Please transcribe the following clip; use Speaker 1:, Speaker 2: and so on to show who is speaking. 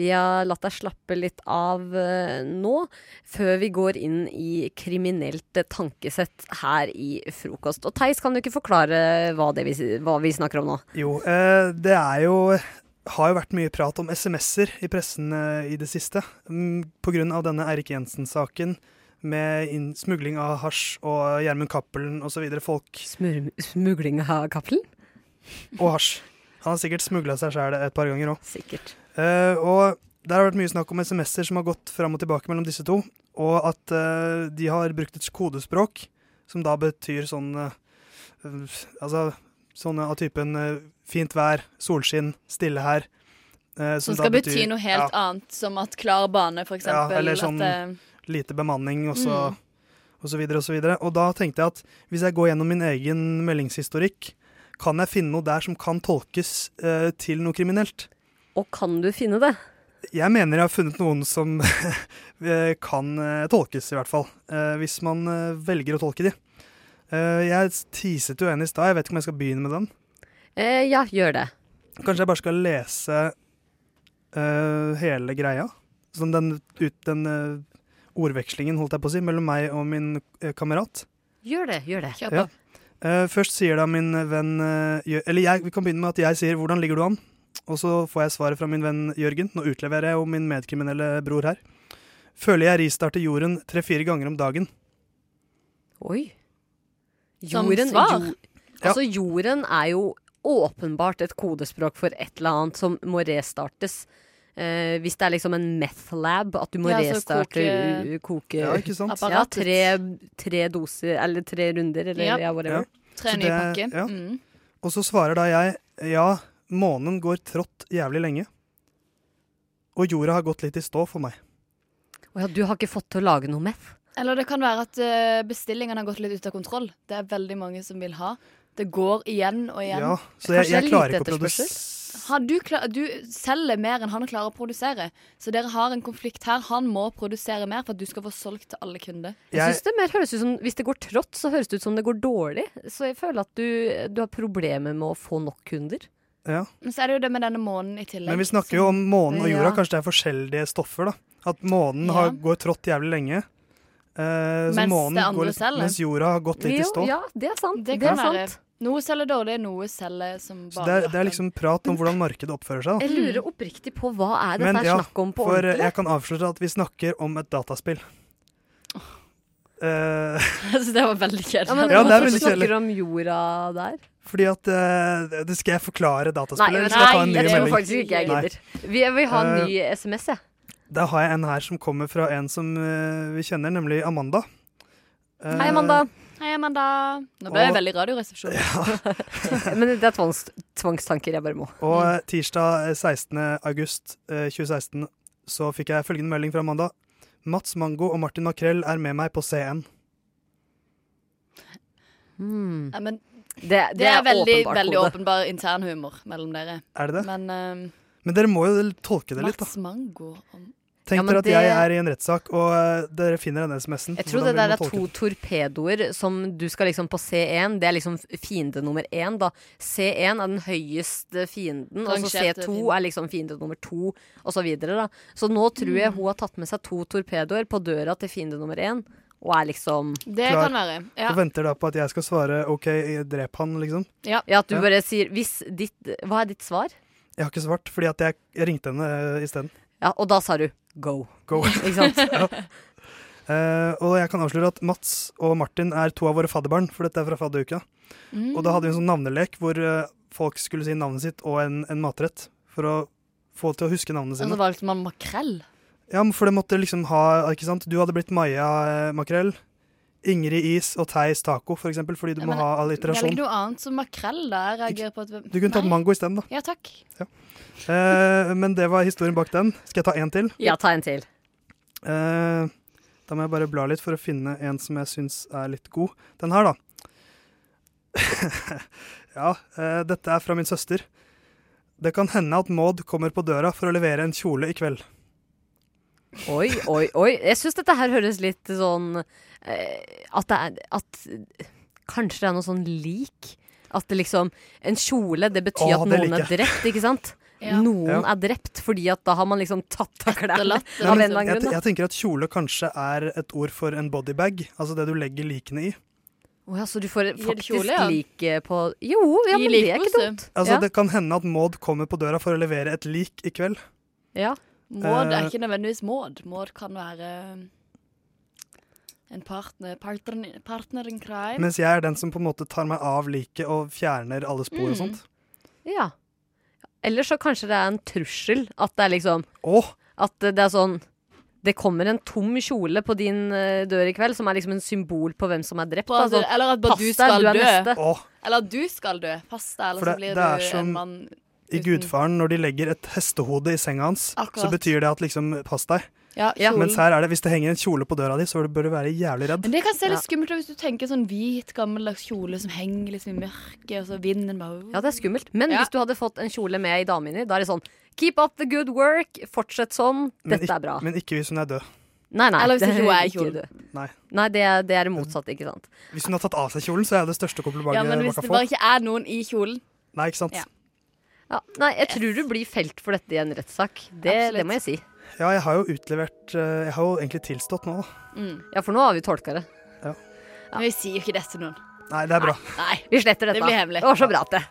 Speaker 1: vi har latt deg slappe litt av eh, nå, før vi går inn i kriminelt eh, tankesett her i frokost. Og Theis, kan du ikke forklare hva, det vi, s- hva vi snakker om nå?
Speaker 2: Jo, eh, det er jo har jo vært mye prat om SMS-er i pressen eh, i det siste. Mm, på grunn av denne Eirik Jensen-saken med inn- smugling av hasj og Gjermund Cappelen osv. folk
Speaker 1: Smur, smugling av Cappelen?
Speaker 2: og hasj. Han har sikkert smugla seg sjæl et par ganger òg.
Speaker 1: Sikkert.
Speaker 2: Eh, og der har det vært mye snakk om SMS-er som har gått fram og tilbake mellom disse to, og at eh, de har brukt et kodespråk som da betyr sånn eh, eh, Altså sånne av typen eh, fint vær, solskinn, stille her. eh,
Speaker 3: Som
Speaker 2: da
Speaker 3: skal bety noe
Speaker 2: ja,
Speaker 3: helt annet, som at klar bane, for eksempel.
Speaker 2: eller
Speaker 3: at,
Speaker 2: sånn-
Speaker 3: eh,
Speaker 2: lite bemanning og så,
Speaker 3: Mm.
Speaker 2: og så videre og så videre. Og da tenkte jeg at hvis jeg går gjennom min egen meldingshistorikk, kan jeg finne noe der som kan tolkes eh, til noe kriminelt?
Speaker 1: Og kan du finne det?
Speaker 2: Jeg mener jeg har funnet noen som eh, kan eh, tolkes, i hvert fall. eh, Hvis man eh, velger å tolke de. Eh, Jeg teaset jo en i stad, jeg vet ikke om jeg skal begynne med den.
Speaker 1: Eh, ja, gjør det.
Speaker 2: Kanskje jeg bare skal lese eh, hele greia? Sånn den, ut, den eh, ordvekslingen, holdt jeg på å si, mellom meg og min eh, kamerat.
Speaker 1: Gjør det, gjør det.
Speaker 3: kjør på.
Speaker 2: Ja. Eh, først sier da min venn eh, Jø- Eller jeg, vi kan begynne med at jeg sier 'hvordan ligger du an?' Og så får jeg svaret fra min venn Jørgen. Nå utleverer jeg jo min medkriminelle bror her. Føler jeg ristarter jorden tre-fire ganger om dagen.
Speaker 1: Oi.
Speaker 3: Som svar?
Speaker 2: Ja.
Speaker 1: altså, jorden er jo åpenbart et kodespråk for et eller annet som må restartes. Eh, hvis det er liksom en meth lab, at du må
Speaker 3: Ja, altså
Speaker 1: restarte
Speaker 3: koke-
Speaker 1: u- koke
Speaker 2: Ja, ikke sant?
Speaker 3: Apparat.
Speaker 1: Ja, tre, tre doser, eller tre runder, eller
Speaker 3: Ja.
Speaker 1: ja, whatever.
Speaker 2: Ja.
Speaker 3: Tre
Speaker 2: Så
Speaker 3: nye
Speaker 2: det-
Speaker 3: pakker.
Speaker 2: ja.
Speaker 3: Mm.
Speaker 2: Og så svarer da jeg 'ja, månen går trått jævlig lenge'. Og jorda har gått litt i stå for meg.
Speaker 1: Å ja, du har ikke fått til å lage noe meth?
Speaker 3: Eller det kan være at eh, bestillingen har gått litt ut av kontroll. Det er veldig mange som vil ha. Det går igjen og igjen.
Speaker 2: Ja, så jeg,
Speaker 1: Kanskje det er
Speaker 2: jeg klarer
Speaker 1: lite
Speaker 2: ikke å
Speaker 1: etterspørsel?
Speaker 2: produsere
Speaker 3: Har du, klar, du selger mer enn han klarer å produsere. Så dere har en konflikt her. Han må produsere mer for at du skal få solgt til alle kunder.
Speaker 1: Jeg
Speaker 2: jeg,
Speaker 1: synes det mer høres ut som, Hvis det går trått, så høres det ut som det går dårlig. Så jeg føler at du, du har problemer med å få nok kunder.
Speaker 2: ja.
Speaker 3: Men så er det jo det med denne måneden i tillegg.
Speaker 2: Men vi snakker jo om månen og jorda.
Speaker 1: Ja.
Speaker 2: Kanskje det er forskjellige stoffer, da. At månen har,
Speaker 3: Ja.
Speaker 2: går trått jævlig lenge. Eh, så
Speaker 3: Mens
Speaker 2: månen
Speaker 3: det andre
Speaker 2: går litt,
Speaker 3: selger.
Speaker 2: Mens jorda har gått litt i stå.
Speaker 1: Jo, ja, det er sant.
Speaker 3: Det
Speaker 1: Det,
Speaker 3: kan
Speaker 1: er
Speaker 3: være.
Speaker 1: sant.
Speaker 3: Noe selger dårlig, noe selger som
Speaker 2: Så
Speaker 3: bare
Speaker 2: det er, det er
Speaker 3: rakker.
Speaker 2: liksom prat om hvordan markedet oppfører seg. da.
Speaker 1: Jeg lurer oppriktig på hva er dette
Speaker 2: Mm. Men
Speaker 1: her
Speaker 2: ja,
Speaker 1: snakk om på
Speaker 2: For eh,
Speaker 1: ordentlig?
Speaker 2: jeg kan avsløre at vi snakker om et dataspill. Eh,
Speaker 3: Så det var veldig
Speaker 1: Ja,
Speaker 3: kjedelig.
Speaker 1: men
Speaker 2: Ja, det er
Speaker 1: Hvorfor
Speaker 2: veldig kjedelig.
Speaker 1: snakker du om jorda der?
Speaker 2: fordi at eh, Det skal jeg forklare
Speaker 1: Nei,
Speaker 2: dataspillet.
Speaker 1: jeg,
Speaker 2: eller skal jeg ta en ny
Speaker 1: jeg tror
Speaker 2: melding?
Speaker 1: faktisk ikke jeg
Speaker 2: Nei.
Speaker 1: gidder. Vi jeg vil ha en
Speaker 2: Eh,
Speaker 1: ny SMS, jeg.
Speaker 2: Da har jeg en her som kommer fra en som eh, vi kjenner, nemlig Amanda. Eh,
Speaker 1: Hei, Amanda.
Speaker 3: Hei, Amanda. Nå ble jeg
Speaker 2: Og-
Speaker 3: veldig radioresepsjon.
Speaker 1: Men det er tvangs, tvangstanker jeg bare må.
Speaker 2: Og eh, tirsdag eh, 16. august eh, 2016 så fikk jeg følgende melding fra Amanda. Mats Mango og Martin Makrell er med meg på CN.
Speaker 1: Hmm.
Speaker 3: Ja, men
Speaker 1: Det, det,
Speaker 3: det er veldig,
Speaker 1: åpenbart
Speaker 3: veldig
Speaker 1: kode.
Speaker 3: åpenbar internhumor mellom dere.
Speaker 2: Er det det?
Speaker 3: Men ehm,
Speaker 2: Men dere må jo tolke det litt, da.
Speaker 3: Mats Mango om-
Speaker 2: Tenk
Speaker 1: Ja, men
Speaker 2: dere at
Speaker 1: det-
Speaker 2: jeg er i en rettssak, og eh, dere finner den SMS-en.
Speaker 1: Jeg tror
Speaker 2: Hvordan
Speaker 1: det
Speaker 2: vil
Speaker 1: der
Speaker 2: man
Speaker 1: er
Speaker 2: tolke
Speaker 1: to
Speaker 2: det?
Speaker 1: torpedoer som du skal liksom på C1. Det er liksom fiende nummer én, da. C1 er den høyeste fienden, og så
Speaker 3: Rangerte
Speaker 1: C2
Speaker 3: fienden.
Speaker 1: er liksom fiende nummer to, og så videre, da. Så nå tror jeg hun har tatt med seg to torpedoer på døra til fiende nummer én, og er liksom
Speaker 3: Det
Speaker 2: Klar.
Speaker 3: kan være. Ja.
Speaker 2: Og venter da på at jeg skal svare OK, drep han, liksom.
Speaker 1: Ja, at du
Speaker 2: Ja.
Speaker 1: bare sier hvis ditt Hva er ditt svar?
Speaker 2: Jeg har ikke svart, fordi at jeg, jeg ringte henne eh, isteden.
Speaker 1: Ja, og da sa du go.
Speaker 2: Go.
Speaker 1: Ikke sant?
Speaker 2: Eh, og jeg kan avsløre at Mats og Martin er to av våre fadderbarn, for dette er fra fadderuka.
Speaker 3: Mm.
Speaker 2: Og da hadde vi en sånn navnelek hvor eh, folk skulle si navnet sitt og en, en matrett for å få til å huske navnene
Speaker 3: Og så
Speaker 2: sine.
Speaker 3: valgte man makrell.
Speaker 2: Ja, men for det måtte liksom ha Ikke sant? Du hadde blitt Maja eh, Makrell, Ingrid Is og Theis Taco, for eksempel, fordi du
Speaker 3: Ja,
Speaker 2: må
Speaker 3: men
Speaker 2: ha
Speaker 3: Velg
Speaker 2: alliterasjon.
Speaker 3: noe annet som makrell, da. Jeg reagerer på at
Speaker 2: Du kunne tatt
Speaker 3: Nei.
Speaker 2: mango isteden, da.
Speaker 3: Ja, takk.
Speaker 2: Eh, men det var historien bak den. Skal jeg ta en til?
Speaker 1: Ja, ta en til.
Speaker 2: Eh, da må jeg bare bla litt for å finne en som jeg syns er litt god. Den her, da. ja, eh, dette er fra min søster. Det kan hende at Maud kommer på døra for å levere en kjole i kveld.
Speaker 1: Oi, oi, oi. Jeg syns dette her høres litt sånn eh, At det er At kanskje det er noe sånn lik. At det liksom En kjole, det betyr
Speaker 2: Åh,
Speaker 1: at
Speaker 2: det
Speaker 1: noen
Speaker 2: liker
Speaker 1: er drept, ikke sant?
Speaker 3: Ja.
Speaker 1: Noen
Speaker 2: Ja.
Speaker 1: er drept, fordi at da har man liksom tatt av klærne.
Speaker 3: Etterlatt.
Speaker 1: Av en eller
Speaker 3: liksom.
Speaker 1: annen
Speaker 2: Jeg,
Speaker 1: grunn. da.
Speaker 2: jeg tenker at kjole kanskje er et ord for en bodybag, altså det du legger likene i.
Speaker 1: Å ja, så du får
Speaker 3: Gir
Speaker 1: faktisk
Speaker 3: kjole, ja.
Speaker 1: lik eh, på Jo, ja,
Speaker 3: Gi
Speaker 1: men det er ikke
Speaker 3: likpose.
Speaker 1: dumt.
Speaker 2: Altså
Speaker 1: ja.
Speaker 2: Det kan hende at Maud kommer på døra for å levere et lik i kveld.
Speaker 1: Ja.
Speaker 3: Maud
Speaker 2: Eh.
Speaker 3: er ikke nødvendigvis Maud. Maud kan være ehm, en partner, partner, partner in crime.
Speaker 2: Mens jeg er den som på en måte tar meg av liket og fjerner alle spor og sånt.
Speaker 1: ja. Eller så kanskje det er en trussel. At det er liksom
Speaker 2: Åh,
Speaker 1: At eh, det er sånn Det kommer en tom kjole på din eh, dør i kveld, som er liksom en symbol på hvem som er drept.
Speaker 3: På
Speaker 1: da.
Speaker 3: at du,
Speaker 2: Altså,
Speaker 1: Sånn,
Speaker 3: eller at bare
Speaker 1: Pass
Speaker 3: du
Speaker 1: deg,
Speaker 3: skal
Speaker 1: du er
Speaker 3: dø.
Speaker 1: neste.
Speaker 2: åh.
Speaker 3: Eller at du skal dø. Pass deg,
Speaker 2: For
Speaker 3: eller så
Speaker 2: det-
Speaker 3: blir
Speaker 2: det
Speaker 3: du
Speaker 2: er sånn- som-
Speaker 3: en mann
Speaker 2: I
Speaker 3: uten-
Speaker 2: Gudfaren, når de legger et hestehode i senga hans, så
Speaker 3: Akkurat.
Speaker 2: betyr det at liksom, pass deg.
Speaker 3: Ja,
Speaker 1: Ja.
Speaker 3: kjolen.
Speaker 2: Mens her er det, hvis det henger en kjole på døra di, så bør du være jævlig redd.
Speaker 3: Men det kan se
Speaker 1: Ja.
Speaker 3: litt skummelt ut hvis du tenker sånn hvit, gammeldags kjole som henger liksom i mørket, og så vinden bare
Speaker 1: Ja, det er skummelt. Men
Speaker 3: Ja.
Speaker 1: hvis du hadde fått en kjole med i damene, da er det sånn Keep up the good work. Fortsett sånn.
Speaker 2: Men
Speaker 1: Dette
Speaker 2: ikk-
Speaker 1: er bra.
Speaker 2: Men ikke hvis hun er død.
Speaker 1: Nei, nei.
Speaker 3: Eller hvis
Speaker 1: det
Speaker 3: ikke hun er i kjolen.
Speaker 1: det.
Speaker 2: Nei.
Speaker 1: Nei, det er, det er det motsatte, ikke sant.
Speaker 2: Hvis hun har tatt av seg kjolen, så er det det største komplimentet
Speaker 3: Ja, men
Speaker 2: man
Speaker 3: hvis
Speaker 2: kan
Speaker 3: det
Speaker 2: få.
Speaker 3: bare ikke er noen i kjolen.
Speaker 2: Nei, ikke sant?
Speaker 3: Ja.
Speaker 2: Ja.
Speaker 1: Ja, nei, jeg tror du blir felt for dette i en rettssak. Det, det
Speaker 3: Absolutt.
Speaker 1: må jeg si.
Speaker 2: jeg har jo utlevert eh, Jeg har jo egentlig tilstått nå, da.
Speaker 1: Ja, for nå har vi tolka det.
Speaker 3: Men vi sier jo ikke det til noen.
Speaker 2: Nei, det er bra.
Speaker 3: Nei.
Speaker 1: Vi sletter dette.
Speaker 3: Det blir hemmelig.
Speaker 1: var så bra at det.